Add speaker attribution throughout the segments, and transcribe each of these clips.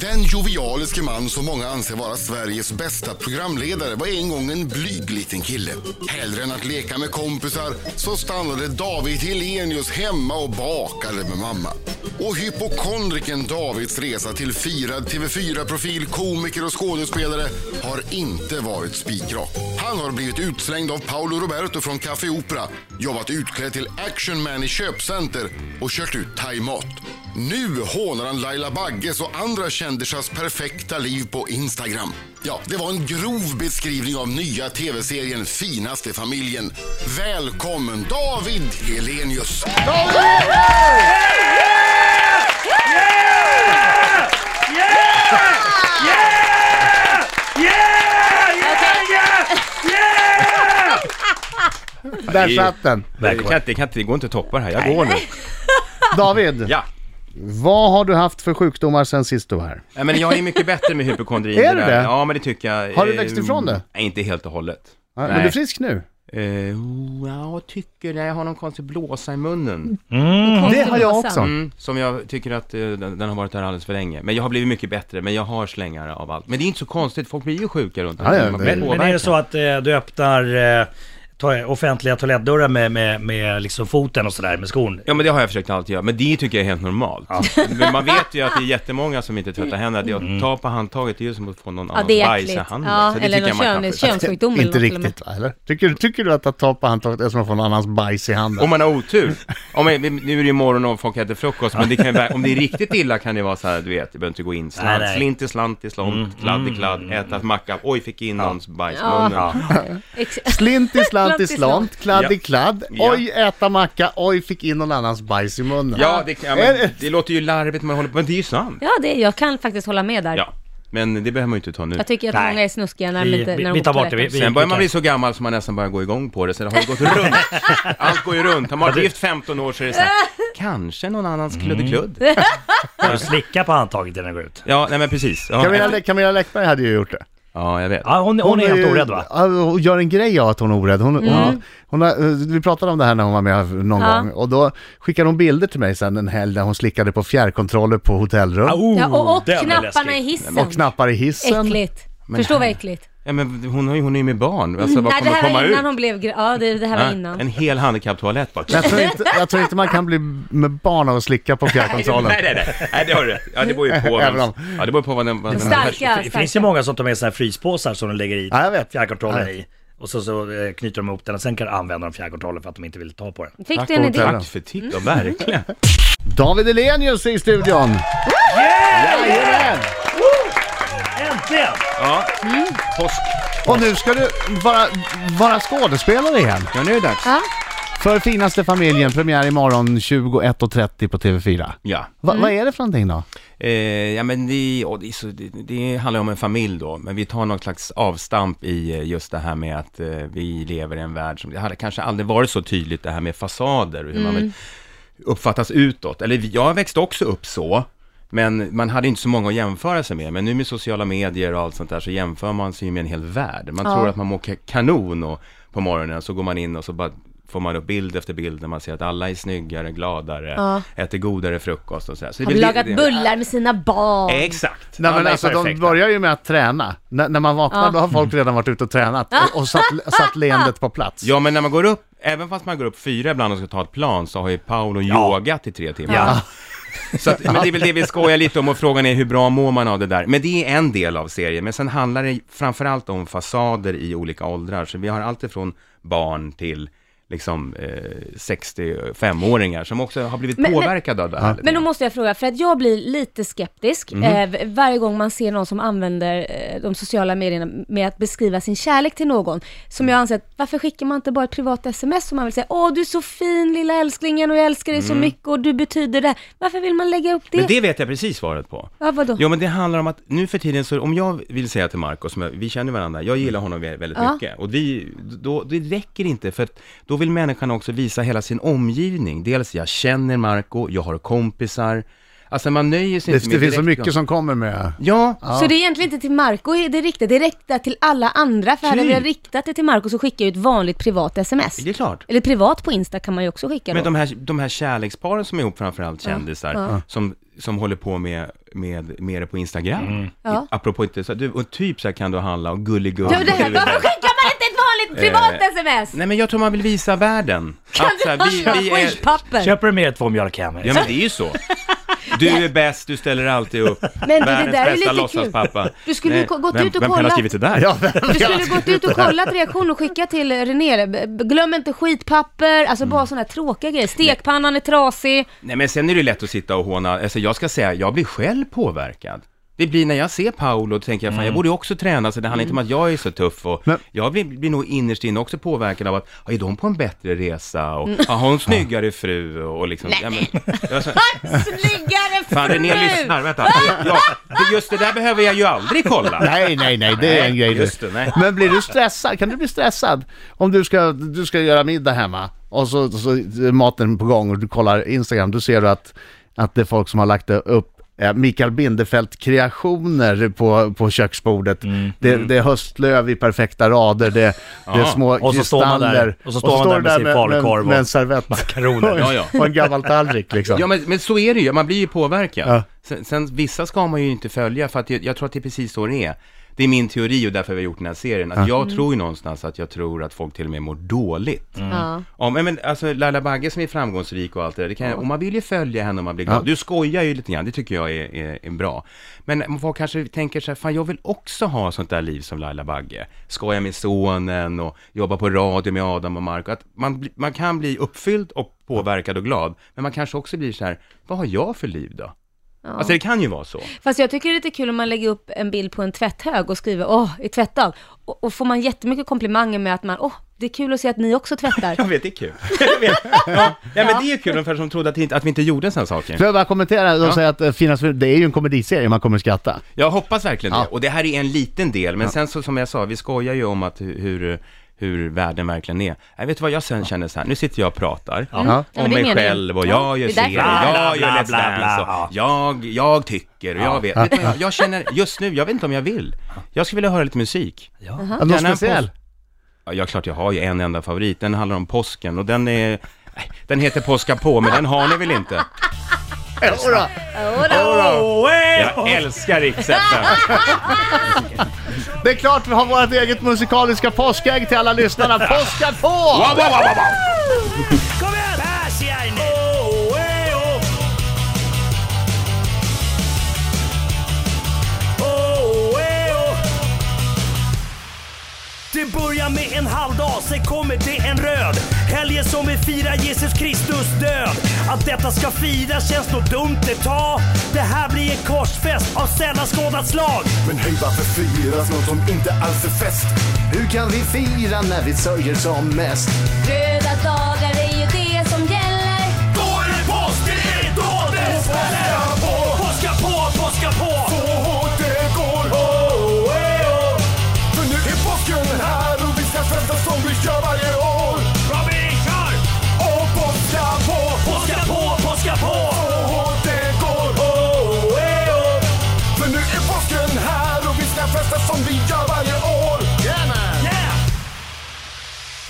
Speaker 1: Den jovialiske man som många anser vara Sveriges bästa programledare var en gång en blyg liten kille. Hellre än att leka med kompisar så stannade David Helenius hemma och bakade med mamma. Och hypokondriken Davids resa till firad TV4-profil, komiker och skådespelare har inte varit spikrak. Han har blivit utslängd av Paolo Roberto från Café Opera, jobbat utklädd till actionman i köpcenter och kört ut thaimat. Nu hånar han Laila Bagges och andra kändisars perfekta liv på Instagram. Ja, det var en grov beskrivning av nya tv-serien Finaste familjen. Välkommen David Helenius!
Speaker 2: Där satt den.
Speaker 3: Nej, det, kan, inte- det, kan, inte- det går inte att toppa det här. Jag går nu.
Speaker 2: David,
Speaker 3: Ja.
Speaker 2: vad har du haft för sjukdomar sen sist du var här?
Speaker 3: Nej, men jag är mycket bättre med hypokondri.
Speaker 2: Är du
Speaker 3: där.
Speaker 2: det?
Speaker 3: Ja, men det tycker jag.
Speaker 2: Har du
Speaker 3: Eh,
Speaker 2: växt ifrån det?
Speaker 3: Nej, inte helt och hållet.
Speaker 2: Ja, Men
Speaker 3: Nej.
Speaker 2: du är frisk nu?
Speaker 3: Eh, oh, ja, jag tycker det. Jag har någon konstig blåsa i munnen.
Speaker 2: Det har jag också.
Speaker 3: Mm, som jag tycker att eh, den, den har varit här alldeles för länge. Men jag har blivit mycket bättre, men jag har slängar av allt. Men det är inte så konstigt, folk blir ju sjuka runt omkring.
Speaker 2: Ja, ja,
Speaker 3: Man
Speaker 2: det-
Speaker 3: blir
Speaker 4: Men, men
Speaker 3: påverkad.
Speaker 4: är det så att eh, du öppnar eh, to- offentliga toalettdörrar med, med, med liksom foten och sådär med skon?
Speaker 3: Ja men det har jag försökt alltid göra, men det tycker jag är helt normalt. Men man vet ju att det är jättemånga som inte tvättar händerna. Det
Speaker 2: Mm.
Speaker 3: Att ta på handtaget det är ju som att få någon
Speaker 5: Ja,
Speaker 3: annan
Speaker 5: det är
Speaker 3: bajs i
Speaker 5: äckligt.
Speaker 3: handen.
Speaker 5: Ja,
Speaker 3: Så Alltså, det
Speaker 5: eller
Speaker 3: tycker
Speaker 5: någon
Speaker 3: jag man kan Alltså,
Speaker 5: kön,
Speaker 3: försöka-
Speaker 5: könssjukdom eller
Speaker 2: Inte
Speaker 5: något till och med.
Speaker 2: riktigt va, eller? Tycker, tycker du att att ta på handtaget är som att få någon annans bajs i handen?
Speaker 3: Om man har otur. Om, nu är det ju morgon och folk äter frukost, men det kan ju, vara- om det är riktigt illa kan det vara så här, du vet, det behöver inte gå in.
Speaker 4: Nej,
Speaker 3: Slant,
Speaker 4: nej.
Speaker 3: slint i slant i slont, kladd i kladd, äta macka, oj fick in någons bajs i
Speaker 5: Mm. Ja.
Speaker 3: munnen.
Speaker 5: Ex-
Speaker 2: Slint i slant i
Speaker 5: Slant i slant.
Speaker 2: slant, kladd i
Speaker 3: Ja.
Speaker 2: kladd,
Speaker 3: Ja.
Speaker 2: oj äta macka, oj fick in någon annans bajs i munnen.
Speaker 3: Ja, det, ja men, det låter ju larvigt, man håller på, men det är ju sant.
Speaker 5: Ja, det, jag kan faktiskt hålla med där.
Speaker 3: Ja, men det behöver man ju inte ta nu.
Speaker 5: Jag tycker att
Speaker 4: Nej.
Speaker 5: många är snuskiga när de
Speaker 4: Vi,
Speaker 5: inte när
Speaker 4: vi,
Speaker 5: de
Speaker 4: vi
Speaker 5: går
Speaker 4: tar
Speaker 5: på
Speaker 4: bort det. Vi,
Speaker 5: toaletten.
Speaker 4: vi
Speaker 3: Sen börjar man
Speaker 4: skickar.
Speaker 3: bli så gammal som man nästan börjar gå igång på det, så det har ju gått runt. Allt går ju runt. Har man varit gift 15 år så är det så här, kanske någon annans
Speaker 5: Mm.
Speaker 3: kluddekludd.
Speaker 4: Kan du slicka på handtaget innan du går ut?
Speaker 3: Ja, nej men precis.
Speaker 2: Camilla,
Speaker 3: Ja,
Speaker 2: Lä- Camilla Läckberg hade ju gjort det.
Speaker 3: ja jag vet.
Speaker 4: Ja, hon, hon är
Speaker 2: ju-
Speaker 4: helt orädd va?
Speaker 2: Ja, hon gör en grej av att hon är orädd. Hon, hon, hon har, eh, vi pratade om det här när hon var med någon
Speaker 5: Mm. Ja.
Speaker 2: gång och då skickade hon bilder till mig sen en helg där hon slickade på fjärrkontroller på hotellrum
Speaker 5: Ja, och, och
Speaker 4: den Oh, är
Speaker 5: knapparna i
Speaker 4: läskig.
Speaker 5: hissen.
Speaker 2: och knappar i hissen.
Speaker 5: Äckligt. Förstå vad äckligt.
Speaker 3: Ja, men hon, har ju- hon är ju med barn, alltså vad
Speaker 5: Mm. Nej, det
Speaker 3: kommer
Speaker 5: här
Speaker 3: komma
Speaker 5: var
Speaker 3: ut?
Speaker 5: innan hon blev... gr- Ja, det, det här var
Speaker 3: Ja,
Speaker 5: innan.
Speaker 3: En hel handikapptoalett bara.
Speaker 2: Jag tror, inte, jag tror inte man kan bli med barn av att slicka på fjärrkontrollen.
Speaker 3: Nej, nej, nej, nej, det har du rätt. Ja, det beror ju på.
Speaker 2: Även om-
Speaker 3: Vems, ja, det beror på vad den... Vad den
Speaker 5: Starka,
Speaker 4: Det
Speaker 5: starka.
Speaker 4: finns ju många som tar med sådana här fryspåsar som de lägger i
Speaker 2: Ja, jag vet.
Speaker 4: fjärrkontrollen
Speaker 2: Ja.
Speaker 4: i. Och så, så eh, knyter de ihop den och sen kan de använda de fjärrkontrollen för att de inte vill ta på den.
Speaker 5: Fick
Speaker 3: Tack,
Speaker 5: du en idé?
Speaker 2: hotell.
Speaker 3: tack för tips, ja, verkligen.
Speaker 2: David Elenius är i studion! Jajamän!
Speaker 4: Äntligen!
Speaker 3: Ja,
Speaker 5: Mm.
Speaker 3: påsk.
Speaker 2: Och nu ska du vara, vara skådespelare igen.
Speaker 3: Ja, nu är det dags.
Speaker 5: Ja.
Speaker 2: För Finaste familjen, premiär imorgon 21.30 på TV4.
Speaker 3: Ja.
Speaker 2: Va,
Speaker 5: Mm.
Speaker 2: Vad är det för någonting då?
Speaker 3: Eh, ja, men det, och det, är så, det, det handlar om en familj då, men vi tar någon slags avstamp i eh, just det här med att eh, vi lever i en värld som, det hade kanske aldrig varit så tydligt det här med fasader och hur
Speaker 5: Mm.
Speaker 3: man vill uppfattas utåt. Eller vi- jag växte också upp så, men man hade inte så många att jämföra sig med. Men nu med sociala medier och allt sånt där så jämför man sig ju med en hel värld. Man tror att man mår ka- kanon och på morgonen så går man in och så bara får man upp bild efter bild när man ser att alla är snyggare, gladare, äter godare frukost och sådär. Så det är
Speaker 5: Har
Speaker 3: väl det-
Speaker 5: lagat
Speaker 3: det-
Speaker 5: bullar med sina barn.
Speaker 3: Exakt.
Speaker 2: Nej, men
Speaker 3: Alla är
Speaker 2: alltså, de
Speaker 3: perfekta.
Speaker 2: börjar ju med att träna. N- när man vaknar
Speaker 5: Ja.
Speaker 2: då har folk redan varit ute och tränat och, och satt, satt leendet på plats.
Speaker 3: Ja, men när man går upp, även fast man går upp fyra ibland och ska ta ett plan, så har ju Paolo yogat i tre timmar.
Speaker 4: Ja.
Speaker 3: Så att, men det är väl det vi skojar lite om och frågan är hur bra mår man av det där? Men det är en del av serien, men sen handlar det framförallt om fasader i olika åldrar. Så vi har allt ifrån barn till liksom eh, 65-åringar som också har blivit
Speaker 5: Men- men-
Speaker 3: påverkade av det Mhm. här.
Speaker 5: Men då måste jag fråga, för att jag blir lite skeptisk eh, varje gång man ser någon som använder eh, de sociala medierna med att beskriva sin kärlek till någon. Som
Speaker 3: Mm.
Speaker 5: jag anser att, varför skickar man inte bara ett privat sms som man vill säga, åh du är så fin lilla älsklingen och jag älskar dig så mycket och du betyder det. Varför vill man lägga upp det?
Speaker 3: Mm. men det vet jag precis svaret på.
Speaker 5: Ja, vadå?
Speaker 3: Jo men det handlar om att nu för tiden så, om jag vill säga till Marco, som jag, vi känner varandra, jag gillar honom vä- väldigt
Speaker 5: Ja.
Speaker 3: mycket. Och vi, då, det räcker inte för att då vill människan också visa hela sin omgivning. Dels jag känner Marco, jag har kompisar. Alltså man nöjer sig
Speaker 2: det
Speaker 3: inte med
Speaker 2: det finns så
Speaker 3: direkt-
Speaker 2: mycket som kommer med...
Speaker 3: Ja,
Speaker 5: Så det är egentligen inte till Marco det är riktat, det är riktat till alla andra. För hade
Speaker 3: Typ.
Speaker 5: vi riktat det till Marco så skickar jag ju ett vanligt privat sms.
Speaker 3: det är klart.
Speaker 5: Eller privat på Insta kan man ju också skicka
Speaker 3: Men
Speaker 5: då.
Speaker 3: de här, de här kärleksparen som är ihop, framförallt kändisar, Som, som håller på med med, med det på Instagram.
Speaker 5: Mm. Ja.
Speaker 3: I- Apropå inte, så, att du, och typ så här kan du handla och gullegull.
Speaker 5: Du, det här, varför skickar man inte ett vanligt privat
Speaker 3: Eh,
Speaker 5: sms?
Speaker 3: Nej men jag tror man vill visa världen.
Speaker 5: Kan
Speaker 3: så här,
Speaker 6: Alltså,
Speaker 5: du ha papper?
Speaker 4: Köper du mer än två mjölkhammar?
Speaker 3: Ja men det är ju så. Du är bäst, du ställer alltid upp.
Speaker 5: det
Speaker 3: Världens
Speaker 5: där är
Speaker 3: bästa
Speaker 5: lite kul.
Speaker 3: låtsaspappa.
Speaker 5: Du skulle
Speaker 3: Nej,
Speaker 5: gå- gått
Speaker 3: vem,
Speaker 5: ut och
Speaker 3: Vem kan ha
Speaker 5: kollat.
Speaker 3: skrivit det där?
Speaker 2: Ja,
Speaker 5: Du skulle gått ut och kollat reaktion och skicka till René, B- b- glöm inte skitpapper, alltså bara sådana här tråkiga grejer. Stekpannan är trasig.
Speaker 3: Nej men sen är det lätt att sitta och håna, alltså jag ska säga, jag blir själv påverkad. Det blir när jag ser Paolo, då tänker jag,
Speaker 5: Mm.
Speaker 3: fan jag borde ju också träna, så det handlar inte om att jag är så tuff och
Speaker 2: Men-
Speaker 3: jag blir, blir nog innerst inne också påverkad av att, ja, är de på en bättre resa och,
Speaker 5: Mm.
Speaker 3: ja, har hon snyggare fru och, och liksom, ja, men, det var så,
Speaker 5: Snyggare
Speaker 3: fan René
Speaker 5: fru!
Speaker 3: lyssnar, vänta, ja, det, just det där behöver jag ju aldrig kolla.
Speaker 2: Nej, nej, nej, det är en
Speaker 3: Nej,
Speaker 2: grej. du.
Speaker 3: just det, nej.
Speaker 2: Men blir du stressad? Kan du bli stressad? Om du ska, du ska göra middag hemma och så, så är maten på gång och du kollar Instagram, då ser du att, att det är folk som har lagt upp eh, Mikael Bindefeld-kreationer på, på köksbordet.
Speaker 4: Mm,
Speaker 2: Det, det är höstlöv i perfekta rader, det, det är små
Speaker 4: Och så står
Speaker 2: kristaller.
Speaker 4: man där- och så står man där med sin falukorv
Speaker 2: med,
Speaker 4: och
Speaker 2: med en servett
Speaker 4: makaroner.
Speaker 2: och,
Speaker 3: Ja, ja.
Speaker 2: och en gammal tallrik liksom.
Speaker 3: Ja, men, men så är det ju, man blir ju påverkad.
Speaker 2: Ja.
Speaker 3: Sen, sen vissa ska man ju inte följa, för att jag, jag tror att det är precis så det är. Det är min teori och därför vi har gjort den här serien, att jag tror ju någonstans att jag tror att folk till och med mår dåligt.
Speaker 5: Ja.
Speaker 3: Ja, men, men alltså Laila Bagge som är framgångsrik och allt det där, det kan, och man vill ju följa henne om man blir glad. Du skojar ju lite grann, det tycker jag är, är, är bra. Men folk kanske tänker så här, fan jag vill också ha sånt där liv som Laila Bagge. Skoja med sonen och jobba på radio med Adam och Marco. Att man, bli- man kan bli uppfylld och påverkad och glad, men man kanske också blir så här, vad har jag för liv då? Alltså det kan ju vara så.
Speaker 5: Fast jag tycker det är lite kul om man lägger upp en bild på en tvätthög och skriver åh, i tvättad. Och, och får man jättemycket komplimanger med att man, åh, det är kul att se att ni också tvättar.
Speaker 3: Jag vet, det är kul. Jag vet. Ja, ja, men det är ju kul, ungefär som trodde att, inte- att vi inte gjorde sådana saker.
Speaker 2: Får jag bara kommentera, de
Speaker 3: Ja.
Speaker 2: säger att eh, Finans det är ju en komediserie, man kommer skratta.
Speaker 3: Jag hoppas verkligen
Speaker 2: Ja.
Speaker 3: det. Och det här är en liten del, men sen så, som jag sa, vi skojar ju om att hu- hur, hur världen verkligen är. Jag vet du vad jag sen känner så här, nu sitter jag och pratar
Speaker 2: Ja.
Speaker 5: Ja,
Speaker 3: om
Speaker 5: men det är
Speaker 3: mig
Speaker 5: meningen.
Speaker 3: själv och
Speaker 5: Ja,
Speaker 3: jag gör
Speaker 5: det är därför.
Speaker 3: serier,
Speaker 4: Bla, bla,
Speaker 3: jag gör
Speaker 4: bla,
Speaker 3: Let's
Speaker 4: bla,
Speaker 3: Dance
Speaker 4: bla, ja.
Speaker 3: och jag, jag tycker och jag vet. Vet du vad Jag, jag känner, just nu, jag vet inte om jag vill. Jag skulle vilja höra lite musik.
Speaker 2: Ja, Någon
Speaker 3: Gärna en
Speaker 2: speciell?
Speaker 3: Ja, ja, klart jag har ju en enda favorit, den handlar om påsken och den är, nej, den heter Påska på, men den har ni väl inte?
Speaker 2: Jodå.
Speaker 4: Oh, eh,
Speaker 3: Jag älskar Rix FM.
Speaker 2: Det är klart vi har vårt eget musikaliska påskägg till alla lyssnarna. Påska på!
Speaker 3: Wow, wow, wow, wow, wow.
Speaker 4: Kom igen! Bärs, Jaine! Oh, eh, oh. Oh, eh, oh. Det börjar med en halv dag, sen kommer det en röd. Helgen som vi firar Jesus Kristus död. Att detta ska firas känns nog dumt ett tag. Det här blir en korsfest av sällan skådat slag.
Speaker 7: Men hej, varför firas något som inte alls är fest?
Speaker 8: Hur kan vi fira när vi sörjer som mest?
Speaker 6: Röda dagar är ju det som gäller.
Speaker 4: Då är det påsk, det är då det smäller! på, påska på, påska på!
Speaker 7: Så hårt det går, oh, eh, oh. För nu är påsken här och vi ska festa som vi gör varje år.
Speaker 4: Ja, vi kör!
Speaker 7: Och påska på,
Speaker 4: Påska på, påska på!
Speaker 7: så hårt det går, oh, eh, oh. För nu är påsken här och vi ska festa som vi gör varje år.
Speaker 4: Yeah!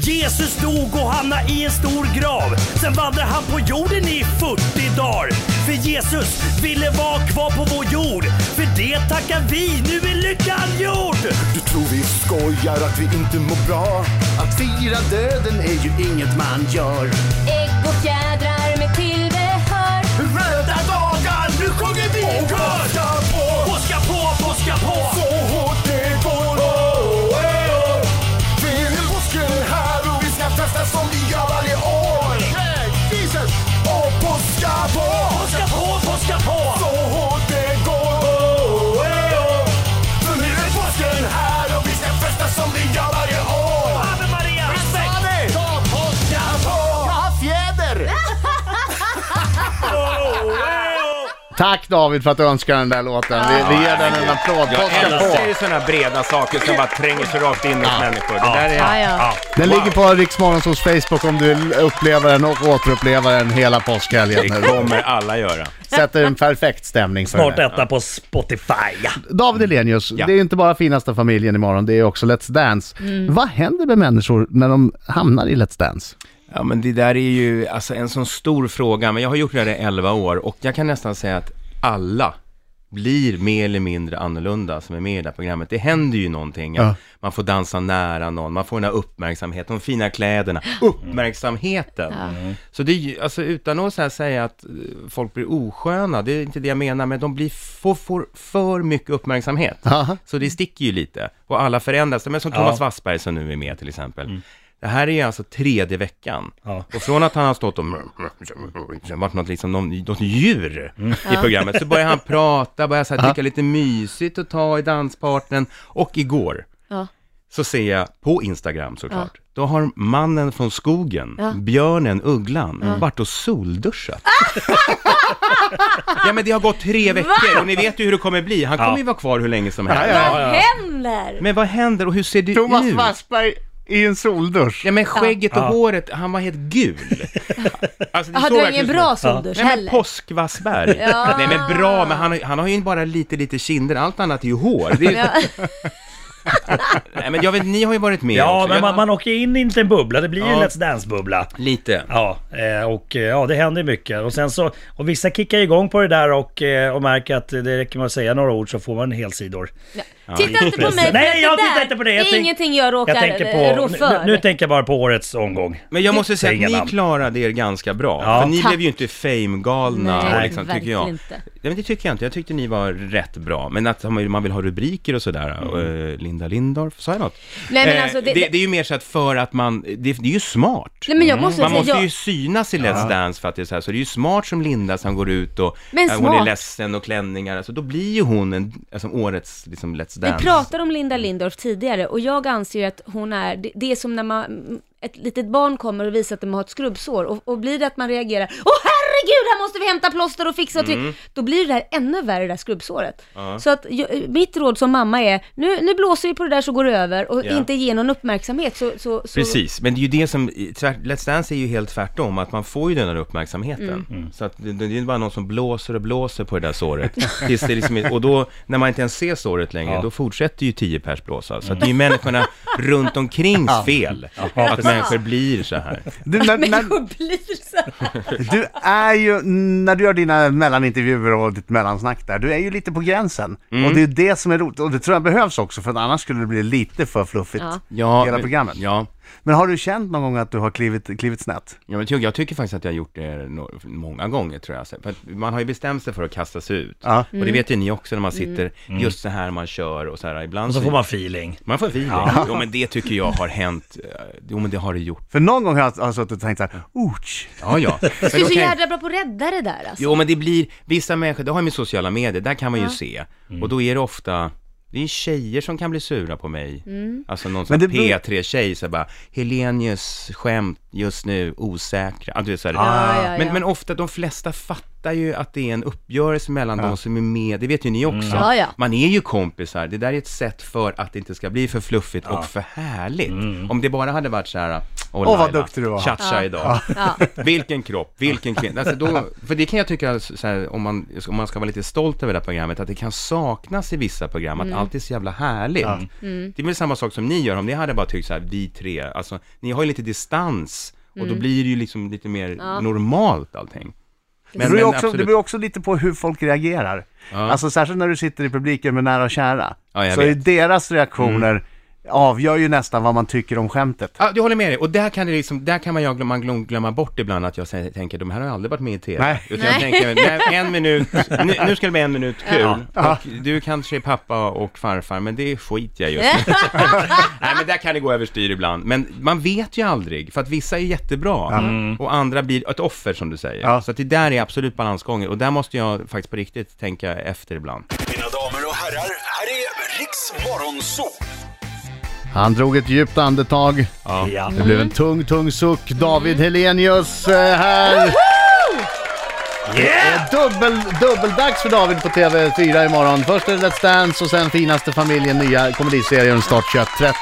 Speaker 4: Jesus dog och hamnade i en stor grav. Sen vandrade han på jorden i 40 dagar. För Jesus ville vara kvar på vår jord. För det tackar vi, nu är lyckan gjord!
Speaker 7: Du tror vi skojar att vi inte mår bra?
Speaker 8: Att fira döden är ju inget man gör.
Speaker 6: Ägg och fjädrar med tillbehör.
Speaker 7: Röda dagar, nu sjunger vi i kör! Påska på,
Speaker 4: Påska på, påska på!
Speaker 7: så hårt det går. Oh, eh, oh. Vi är nu påsken här och vi ska festa som vi gör varje år. Jesus! Och påska på,
Speaker 4: Påska på, påska på!
Speaker 7: så hårt det går. Oh, eh, oh. För nu är påsken här och vi ska festa som vi gör varje år.
Speaker 4: Ave Maria, respekt!
Speaker 7: Ta påska på!
Speaker 2: Tack David för att du önskar den där låten. Vi, vi ger den en applåd. Påska
Speaker 3: Jag
Speaker 2: på!
Speaker 3: älskar ju sådana breda saker som bara tränger sig rakt in hos människor. Det där är...
Speaker 2: Ah,
Speaker 5: Ja, ja.
Speaker 2: Den ligger på Riksmorgons hos Facebook om du upplever den och återupplever den hela påskhelgen.
Speaker 3: Det kommer alla göra.
Speaker 2: Sätter en perfekt stämning för
Speaker 4: Snart
Speaker 2: det.
Speaker 4: etta på Spotify. Ja.
Speaker 2: David Elenius, det är inte bara finaste familjen imorgon, det är också Let's Dance. Vad händer med människor när de hamnar i Let's Dance?
Speaker 3: Ja, men det där är ju alltså, en sån stor fråga, men jag har gjort det här i 11 år och jag kan nästan säga att alla blir mer eller mindre annorlunda som är med i det här programmet. Det händer ju någonting.
Speaker 2: Ja.
Speaker 3: Man får dansa nära någon, man får den här uppmärksamheten, de fina kläderna, uppmärksamheten. Så det är ju, alltså utan att så här säga att eh, folk blir osköna, det är inte det jag menar, men de blir får, får för mycket uppmärksamhet.
Speaker 2: Aha.
Speaker 3: Så det sticker ju lite. Och alla förändras. Men som Thomas Wassberg som nu är med till exempel.
Speaker 2: Mm.
Speaker 3: Det här är ju alltså tredje veckan.
Speaker 9: Ja.
Speaker 3: Och från att han har stått och varit något, liksom, någon, något djur i programmet så börjar han prata, börjar så här, tycka lite mysigt och ta i danspartnern. Och igår
Speaker 5: Ja.
Speaker 3: så ser jag på Instagram såklart, då har mannen från skogen, björnen, ugglan, varit och solduschat. ja men det har gått tre veckor och ni vet ju hur det kommer bli. Han kommer ju vara kvar hur länge som helst.
Speaker 5: Vad händer?
Speaker 3: Men vad händer och hur ser du
Speaker 2: Thomas
Speaker 3: ut?
Speaker 2: Wassberg i en soldusch.
Speaker 3: Ja men skägget och håret, han var helt gul. Alltså,
Speaker 5: Jaha,
Speaker 3: såg
Speaker 5: det var
Speaker 3: verkligen
Speaker 5: ingen
Speaker 3: ut som
Speaker 5: bra
Speaker 3: en-
Speaker 5: soldusch
Speaker 3: Nej men
Speaker 5: heller.
Speaker 3: påskvassberg.
Speaker 5: Ja.
Speaker 3: Nej men bra, men han, har- han har ju bara lite, lite kinder, allt annat är ju hår. Det är,
Speaker 5: Ja.
Speaker 3: Nej men jag vet, ni har ju varit med
Speaker 9: Ja,
Speaker 3: också.
Speaker 9: men
Speaker 3: Jag-
Speaker 9: man, man åker in i en liten bubbla. Det blir ju
Speaker 3: Ja.
Speaker 9: en Let's Dance-bubbla.
Speaker 3: Lite.
Speaker 9: Ja, eh, och eh, ja, det händer mycket. Och, sen så, och vissa kickar igång på det där och, eh, och märker att det räcker med att säga några ord så får man helsidor.
Speaker 5: Titta inte på mig för
Speaker 9: Nej,
Speaker 5: att
Speaker 9: jag
Speaker 5: det
Speaker 9: tittar
Speaker 5: där
Speaker 9: inte på det.
Speaker 5: är
Speaker 9: Jag tänk-
Speaker 5: ingenting jag råkar eh,
Speaker 9: Jag tänker på,
Speaker 5: rå
Speaker 9: nu,
Speaker 5: för.
Speaker 9: nu tänker jag bara på årets omgång.
Speaker 3: Men jag måste säga
Speaker 9: Säg inga
Speaker 3: att ni
Speaker 9: namn.
Speaker 3: klarade er ganska bra.
Speaker 9: Ja.
Speaker 3: För ni
Speaker 5: Tack.
Speaker 3: blev ju inte fame-galna,
Speaker 5: Nej,
Speaker 3: och liksom, tycker jag.
Speaker 5: verkligen inte.
Speaker 3: Nej, men det tycker jag inte. Jag tyckte ni var rätt bra. Men att man man vill ha rubriker och sådär. och, eh, Linda Lindorff, sa jag något?
Speaker 5: Mm. Nej, men
Speaker 3: Eh,
Speaker 5: alltså,
Speaker 3: det,
Speaker 5: det-
Speaker 3: det, är ju mer så att för att man, det, det är ju smart.
Speaker 5: Nej, men jag måste
Speaker 3: Man
Speaker 5: säga,
Speaker 3: måste
Speaker 5: Alltså, jag-
Speaker 3: ju synas i Let's Dance för att det är så här. Så det är ju smart som Linda som går ut och
Speaker 5: Men
Speaker 3: eh, hon är
Speaker 5: smart.
Speaker 3: ledsen och klänningar. Alltså, då blir ju hon en, alltså, årets liksom, Let's
Speaker 5: Vi
Speaker 3: Dance.
Speaker 5: pratade om Linda Lindorff tidigare och jag anser ju att hon är, det, det är som när man, ett litet barn kommer och visar att de har ett skrubbsår och, och blir det att man reagerar Åh herregud, här måste vi hämta plåster och fixa till
Speaker 3: Mm.
Speaker 5: Då blir det här ännu värre, det där skrubbsåret. Så att jag, mitt råd som mamma är, nu, nu blåser vi på det där så går det över och
Speaker 3: Ja.
Speaker 5: inte ge någon uppmärksamhet så, så, så
Speaker 3: Precis, men det är ju det som, tvärt- Let's Dance är ju helt tvärtom, att man får ju den här
Speaker 5: Mm.
Speaker 3: uppmärksamheten. Så att det, det är bara någon som blåser och blåser på det där såret. Tills det liksom, är- och då, när man inte ens ser såret längre, då fortsätter ju tio pers blåsa.
Speaker 2: Mm.
Speaker 3: Så att det är ju människorna runt omkring fel, att människor blir så här.
Speaker 2: Du, när,
Speaker 5: att
Speaker 2: när,
Speaker 5: människor blir så här.
Speaker 2: du är ju, när du gör dina mellanintervjuer och ditt mellansnack där, du är ju lite på gränsen. Och det är ju det som är roligt. Och det tror jag behövs också, för att annars skulle det bli lite för fluffigt.
Speaker 5: Ja.
Speaker 3: Ja,
Speaker 2: Hela
Speaker 3: men-
Speaker 2: programmet.
Speaker 3: Ja,
Speaker 2: Men har du känt någon gång att du har klivit, klivit snett?
Speaker 3: Ja, men jag tycker- jag tycker faktiskt att jag har gjort det no- många gånger tror jag. Alltså, För att man har ju bestämt sig för att kasta sig ut.
Speaker 2: Ja.
Speaker 3: Och det vet ju ni också när man sitter just så här man kör och så här. Ibland
Speaker 9: Mm. Och så får man feeling.
Speaker 3: Man får feeling. Jo men det tycker jag har hänt. Eh, Jo men det har det gjort.
Speaker 2: För någon gång har jag, har jag suttit och tänkt så här, ouch.
Speaker 3: Ja ja. Men då
Speaker 5: Du är så
Speaker 3: kan jag-
Speaker 5: jädra bra på att rädda det där alltså.
Speaker 3: Jo men det blir, vissa människor, det har jag med sociala medier, där kan man ju se.
Speaker 2: Mm.
Speaker 3: Och då är det ofta, det är tjejer som kan bli sura på mig.
Speaker 5: Mm.
Speaker 3: Alltså någon sån
Speaker 2: Men
Speaker 3: här
Speaker 2: det beror-
Speaker 3: P3-tjej så bara, Helenius skämt just nu, osäkra. Ah, du vet, så här.
Speaker 5: Ja, ja, ja.
Speaker 3: Men, men ofta, de flesta fattar ju att det är en uppgörelse mellan de som är med, det vet ju ni
Speaker 2: Mm.
Speaker 3: också.
Speaker 5: Ja, ja.
Speaker 3: Man är ju kompisar, det där är ett sätt för att det inte ska bli för fluffigt och för härligt.
Speaker 2: Mm.
Speaker 3: Om det bara hade varit så här, åh
Speaker 2: Åh, vad
Speaker 3: Laila,
Speaker 2: duktig du var."
Speaker 3: Tja, tja idag. Vilken kropp, vilken kvinna. Alltså då, för det kan jag tycka, så här, om, man, om man ska vara lite stolt över det här programmet, att det kan saknas i vissa program, att allt är så jävla härligt. Det är väl samma sak som ni gör, om ni hade bara tyckt så här, vi tre, alltså ni har ju lite distans och då blir det ju liksom lite mer normalt allting.
Speaker 2: det, beror ju också, det
Speaker 3: absolut.
Speaker 2: beror ju också lite på hur folk reagerar. Alltså särskilt när du sitter i publiken med nära och kära.
Speaker 3: Ja, jag
Speaker 2: så
Speaker 3: vet. Mm.
Speaker 2: är deras reaktioner avgör ju nästan vad man tycker om skämtet.
Speaker 3: Ja, du håller med dig. Och där kan, det liksom, där kan man, jag, man glöm- glömma bort ibland att jag sä- tänker, de här har aldrig varit med i TV.
Speaker 2: Nej.
Speaker 3: Utan jag tänker, nej, en minut, nu, nu ska det bli en minut kul. Och du kanske är pappa och farfar, men det skiter jag just nu. nej, men där kan det gå överstyr ibland. Men man vet ju aldrig, för att vissa är jättebra och andra blir ett offer som du säger.
Speaker 2: Mm. Ja.
Speaker 3: Så att det där är absolut balansgången. Och där måste jag faktiskt på riktigt tänka efter ibland.
Speaker 7: Mina damer och herrar, här är Riks Morgonzoo!
Speaker 2: Han drog ett djupt andetag.
Speaker 9: Ja.
Speaker 2: Det
Speaker 3: Mm.
Speaker 2: blev en tung, tung suck. David Helenius eh, här.
Speaker 9: Yeah!
Speaker 2: Dubbel, dubbeldags för David på TV4 imorgon. Först är det Let's Dance och sen Finaste familjen, nya komediserien Start 21.30.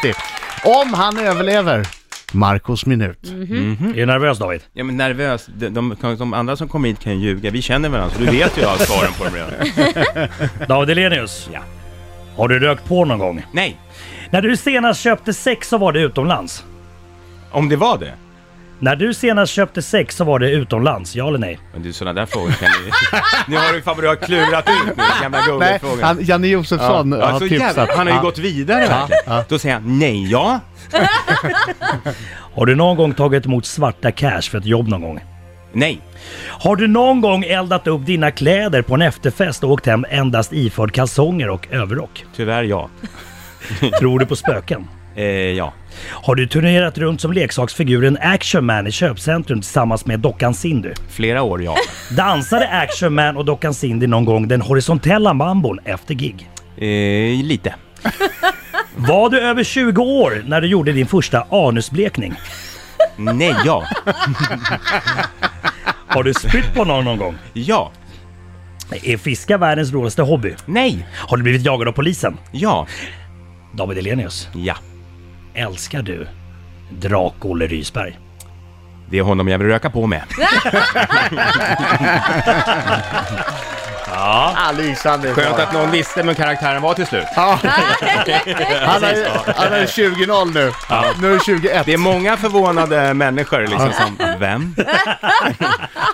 Speaker 2: Om han överlever. Marcos minut.
Speaker 3: Mm.
Speaker 9: Är du nervös David?
Speaker 3: Ja men nervös, de, de, de andra som kommer hit kan ju ljuga, vi känner varandra så du vet ju alla svaren på dem redan.
Speaker 9: David Elenius?
Speaker 3: Ja.
Speaker 9: Har du rökt på någon gång?
Speaker 3: Nej,
Speaker 9: När du senast köpte sex så var det utomlands.
Speaker 3: Om det var det?
Speaker 9: När du senast köpte sex så var det utomlands, ja eller nej?
Speaker 3: Men du, sådana där frågor kan ni... nu har du fan vad du har klurat ut nu, gamla
Speaker 2: Nej,
Speaker 3: Google-frågan.
Speaker 2: han, Janne Josefsson
Speaker 3: Ja,
Speaker 2: har
Speaker 3: så
Speaker 2: tipsat.
Speaker 3: jävla- han har ju
Speaker 2: Ja.
Speaker 3: gått vidare verkligen. Då säger han nej, ja.
Speaker 9: Har du någon gång tagit emot svarta cash för ett jobb någon gång?
Speaker 3: Nej.
Speaker 9: Har du någon gång eldat upp dina kläder på en efterfest och åkt hem endast iförd kalsonger och överrock?
Speaker 3: Tyvärr ja.
Speaker 9: Tror du på spöken?
Speaker 3: Eh, ja.
Speaker 9: Har du turnerat runt som leksaksfiguren Action Man i köpcentrum tillsammans med dockan Cindy?
Speaker 3: Flera år ja.
Speaker 9: Dansade Action Man och dockan Cindy någon gång den horisontella mambon efter gig?
Speaker 3: Eh, lite.
Speaker 9: Var du över 20 år när du gjorde din första anusblekning?
Speaker 3: Nej, ja.
Speaker 9: Har du spytt på någon någon gång?
Speaker 3: Ja.
Speaker 9: Är fiska världens roligaste hobby?
Speaker 3: Nej.
Speaker 9: Har du blivit jagad av polisen?
Speaker 3: Ja.
Speaker 9: David Elenius,
Speaker 3: Ja.
Speaker 9: älskar du Drak-Olle Rysberg?
Speaker 3: Det är honom jag vill röka på med.
Speaker 2: Ah, lysande.
Speaker 3: Skönt att någon visste vem karaktären var till slut.
Speaker 2: Ja. Han är, han är 20-0 nu. Nu är det 21.
Speaker 3: Det är många förvånade människor liksom som, vem?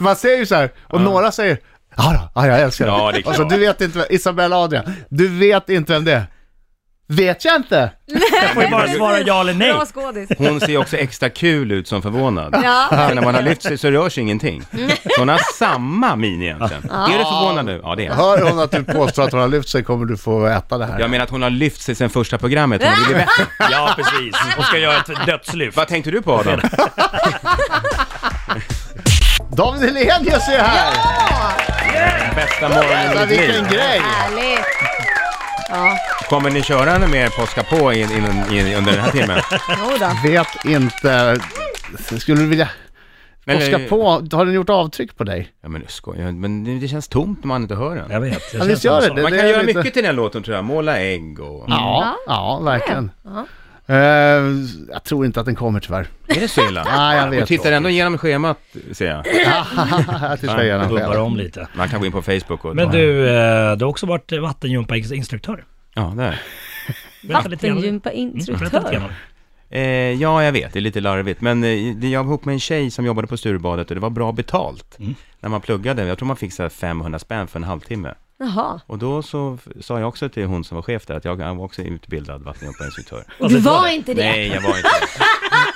Speaker 2: Man säger ju så här, och några säger Ja, då, ja jag älskar
Speaker 3: Ja, det är klart.
Speaker 2: alltså, du vet inte, vem- Isabella Adrian, du vet inte vem det är. Vet jag inte!
Speaker 9: Jag får ju bara svara ja eller nej.
Speaker 5: Bra skådis.
Speaker 3: Hon ser också extra kul ut som förvånad.
Speaker 5: Ja.
Speaker 3: Sen när man har lyft sig så rörs ingenting. Så hon har samma min egentligen. Är du förvånad nu? Ja, det är jag.
Speaker 2: Hör hon att du påstår att hon har lyft sig kommer du få äta det här.
Speaker 3: Jag menar att hon har lyft sig sen första programmet. Hon har blivit bättre.
Speaker 9: Ja, precis. Och ska göra ett dödslyft.
Speaker 3: Vad tänkte du på Adam?
Speaker 2: David Hellenius är här!
Speaker 3: Bästa morgonen
Speaker 2: Ja,
Speaker 3: i mitt
Speaker 2: vilken
Speaker 3: liv.
Speaker 2: grej!
Speaker 5: Härligt.
Speaker 3: Kommer ni köra något mer påska på in, in, in, under den här timmen?
Speaker 5: Jodå.
Speaker 2: Vet inte... Skulle du vilja... Oskar
Speaker 3: eh,
Speaker 2: på, har den gjort avtryck på dig?
Speaker 3: Ja, men nu skojar jag. Men det det känns tomt när man inte hör den.
Speaker 9: Jag vet.
Speaker 2: Ja,
Speaker 9: Jag
Speaker 2: visst gör det
Speaker 3: Man
Speaker 2: det.
Speaker 3: kan
Speaker 2: är
Speaker 3: göra
Speaker 2: lite-
Speaker 3: mycket till den låten tror jag. Måla ägg och...
Speaker 2: Ja, ja verkligen. Eh, jag tror inte att den kommer tyvärr.
Speaker 3: Är det så illa?
Speaker 2: Nej, jag vet
Speaker 3: Du tittar
Speaker 2: inte.
Speaker 3: ändå igenom schemat, ser jag.
Speaker 2: jag tittar gärna
Speaker 9: Bubblar
Speaker 2: själv.
Speaker 9: om lite.
Speaker 3: Man kan gå in på Facebook och...
Speaker 9: Men du, eh, du har också varit vattengympainstruktör.
Speaker 3: Ja, där.
Speaker 9: Berätta lite
Speaker 5: Vattengypa
Speaker 9: grann. Mm, berätta lite
Speaker 5: instruktör.
Speaker 9: grann.
Speaker 3: Eh, ja, jag vet. Det är lite larvigt. Men eh, det- jag var ihop med en tjej som jobbade på Sturebadet och det var bra betalt. När man pluggade. Jag tror man fick så här 500 spänn för en halvtimme.
Speaker 5: Jaha.
Speaker 3: Och då så f- sa jag också till hon som var chef där att jag var också utbildad vattenjumpainstruktör.
Speaker 5: Och
Speaker 9: Alltså,
Speaker 5: du var inte det?
Speaker 3: Nej, jag var inte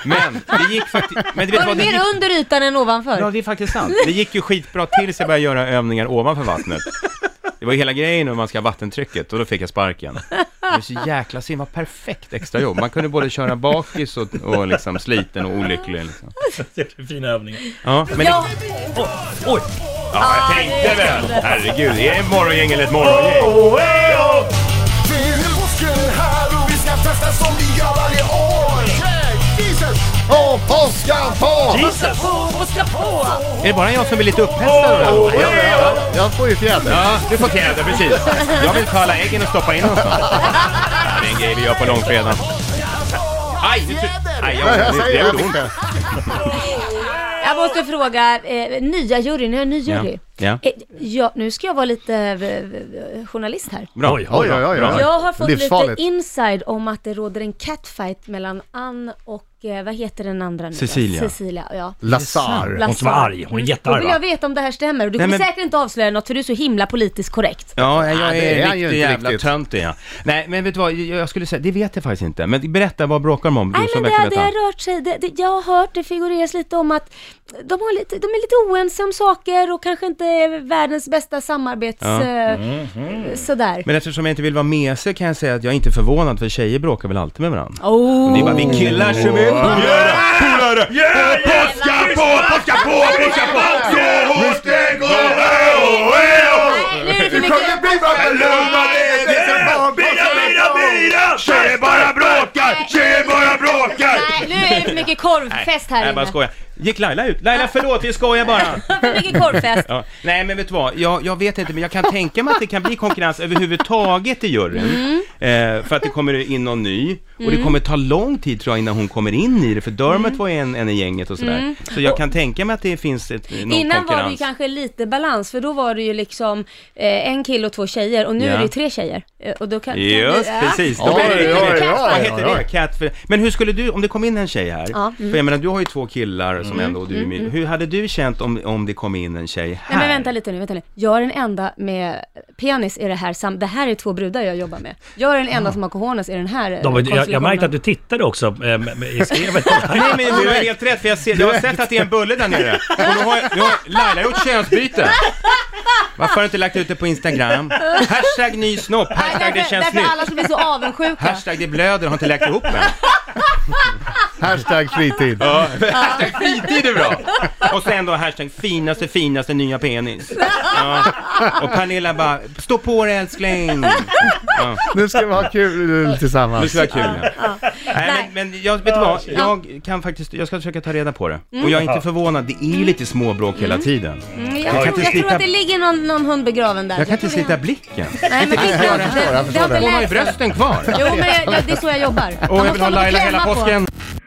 Speaker 3: Men det gick faktiskt... Men du vet
Speaker 5: Var
Speaker 3: vad,
Speaker 5: du
Speaker 3: det gick...
Speaker 5: mer under ytan än
Speaker 3: Ja,
Speaker 5: ovanför?
Speaker 3: det är faktiskt sant. Det gick ju skitbra tills jag började göra övningar ovanför vattnet. Det var ju hela grejen om man ska ha vattentrycket och då fick jag sparken. Det var så jäkla synd, vad perfekt extrajobb. Man kunde både köra bakis och, och liksom sliten och olycklig. Liksom.
Speaker 9: Det är fina övningar.
Speaker 3: Ja, men
Speaker 5: Ja,
Speaker 9: Oj!
Speaker 3: ja, jag tänkte väl. Herregud, det är morgongäng eller ett morgongäng.
Speaker 7: Filmbusken är här och vi ska festa som vi gör varje år. Jesus!
Speaker 2: Åh, påskan på!
Speaker 3: Är det bara jag som blir lite upphetsad? av det här?
Speaker 2: Jag får ju fjäder.
Speaker 3: Ja, du får kläder, precis. Jag vill ta alla äggen och stoppa in dem snart. Ja, Det är en grej vi gör på långfredagen. Aj! Du, aj jag,
Speaker 2: Jag
Speaker 3: det, det
Speaker 2: säger jag
Speaker 3: gjorde
Speaker 2: fick
Speaker 3: ont.
Speaker 2: det.
Speaker 5: jag måste fråga, eh, nya juryn, ni har en ny jury.
Speaker 3: Ja.
Speaker 5: Eh, ja, nu ska jag vara lite eh, journalist här.
Speaker 3: Bra.
Speaker 9: Oj,
Speaker 2: Oj, oj, oj. oj.
Speaker 5: Jag har fått lite
Speaker 2: Livsfarligt.
Speaker 5: inside om att det råder en catfight mellan Ann och, eh, vad heter den andra nu? då?
Speaker 3: Cecilia.
Speaker 5: Cecilia, ja.
Speaker 2: Lazar.
Speaker 9: Hon som var arg. Hon är
Speaker 5: Då
Speaker 9: jättearg
Speaker 5: vill jag
Speaker 9: va?
Speaker 5: veta om det här stämmer och du
Speaker 3: Nej,
Speaker 5: kommer
Speaker 3: men-
Speaker 5: säkert inte avslöja något för du är så himla politiskt korrekt.
Speaker 3: Ja, jag
Speaker 2: det är
Speaker 3: är
Speaker 2: han
Speaker 3: en
Speaker 2: ju
Speaker 3: riktig
Speaker 2: inte
Speaker 3: jävla
Speaker 2: riktigt.
Speaker 3: tönt är jag. Nej, men vet du vad, jag skulle säga, det vet jag faktiskt inte. Men berätta, vad bråkar de om? Du
Speaker 5: Nej
Speaker 3: som
Speaker 5: men det,
Speaker 3: verkar
Speaker 5: har- det
Speaker 3: veta.
Speaker 5: har rört sig, det, det, jag har hört det figureras lite om att de, har lite, de är lite oense om saker och kanske inte är världens bästa samarbets...
Speaker 3: Ja.
Speaker 5: eh,
Speaker 3: Mm-hmm.
Speaker 5: Sådär.
Speaker 3: Men eftersom jag inte vill vara med sig kan jag säga att jag är inte förvånad, för tjejer bråkar väl alltid med varandra.
Speaker 5: Oh.
Speaker 3: Det är bara vi killar som är polare, polare! Påska på, påska på, påska på! Så hårt det går! oh, oh, oh.
Speaker 5: Nej, nu är det för
Speaker 7: Nu kommer
Speaker 5: mycket.
Speaker 7: det bli
Speaker 3: Tjejer bara bråkar! Tjejer bara bråkar!
Speaker 5: Nej, nu är det för mycket korvfest här
Speaker 3: Nej, jag bara
Speaker 5: inne.
Speaker 3: skojar. Gick Laila ut? Laila, förlåt, vi skojar bara.
Speaker 5: För mycket korvfest.
Speaker 3: Ja. Nej, men vet du vad? Jag, jag vet inte, men jag kan tänka mig att det kan bli konkurrens överhuvudtaget i
Speaker 5: Mm.
Speaker 3: juryn. Eh, för att det kommer in någon ny. Och det kommer ta lång tid tror jag innan hon kommer in i det, för Dermot
Speaker 5: Mm.
Speaker 3: var ju en, en i gänget och sådär. Så jag kan tänka mig att det finns ett, eh, någon
Speaker 5: Innan var det ju
Speaker 3: konkurrens.
Speaker 5: kanske lite balans för då var det ju liksom eh, en kille och två tjejer och nu
Speaker 3: Ja.
Speaker 5: är det ju tre tjejer. Eh, Och då kan, kan
Speaker 3: Just
Speaker 5: vi- ja.
Speaker 3: precis. Då
Speaker 2: Oj,
Speaker 3: blir det-
Speaker 2: oj, oj,
Speaker 3: Vad
Speaker 2: oj,
Speaker 3: heter
Speaker 2: oj.
Speaker 3: det? Catfish. Men hur skulle du, om det kom in en tjej här,
Speaker 5: Ja, mm.
Speaker 3: för jag menar du har ju två killar som ändå, och du är min, hur hade du känt om, om det kom in en tjej här?
Speaker 5: Nej men vänta lite nu, vänta nu. Jag är den enda med penis i det här sam... Det här är två brudar jag jobbar med. Jag är den enda som har cojones i den här eh,
Speaker 9: De, jag, jag
Speaker 5: konstellationen.
Speaker 9: märkte att du tittade också eh, med, med, i skrevet.
Speaker 3: Nej men du har helt rätt, för jag, ser, jag har sett att det är en bulle där nere. Och nu har, nu har Laila gjort könsbyte. Varför har du inte lagt ut det på Instagram? Hashtag ny snopp,
Speaker 5: Nej,
Speaker 3: hashtag det
Speaker 5: därför,
Speaker 3: känns
Speaker 5: därför alla
Speaker 3: nytt.
Speaker 5: som blir så avundsjuka.
Speaker 3: Hashtag det blöder, har inte läkt ihop än.
Speaker 2: Hashtag fritid.
Speaker 3: Hashtag fritid är bra! Och sen då hashtag finaste finaste nya penis. Ja. Och Pernilla bara, stå på dig älskling!
Speaker 2: Nu ska vi ha kul eh,
Speaker 3: Nu
Speaker 2: tillsammans.
Speaker 3: ska det vara kul. Nej
Speaker 5: Nej.
Speaker 3: men, men jag, vet du vad, jag kan faktiskt, jag ska försöka ta reda på det. Och jag är inte förvånad, det är ju lite småbråk hela tiden.
Speaker 5: Mm, jag,
Speaker 3: kan
Speaker 5: tror-
Speaker 3: inte
Speaker 5: jag tror
Speaker 3: slita-
Speaker 5: att det ligger någon, någon hund begraven där.
Speaker 3: Jag kan inte
Speaker 5: tror vi har-
Speaker 3: slita blicken.
Speaker 5: Nej men det,
Speaker 2: jag förstår, jag
Speaker 5: det, det,
Speaker 2: förstår
Speaker 5: har
Speaker 2: det.
Speaker 5: inte
Speaker 3: Hon har ju
Speaker 5: läst.
Speaker 3: brösten kvar.
Speaker 5: Jo men jag, det är så jag jobbar. Man
Speaker 3: Och jag
Speaker 5: måste
Speaker 3: vill ha
Speaker 5: något att
Speaker 3: Laila
Speaker 5: klämma
Speaker 3: hela
Speaker 5: på.
Speaker 3: påsken.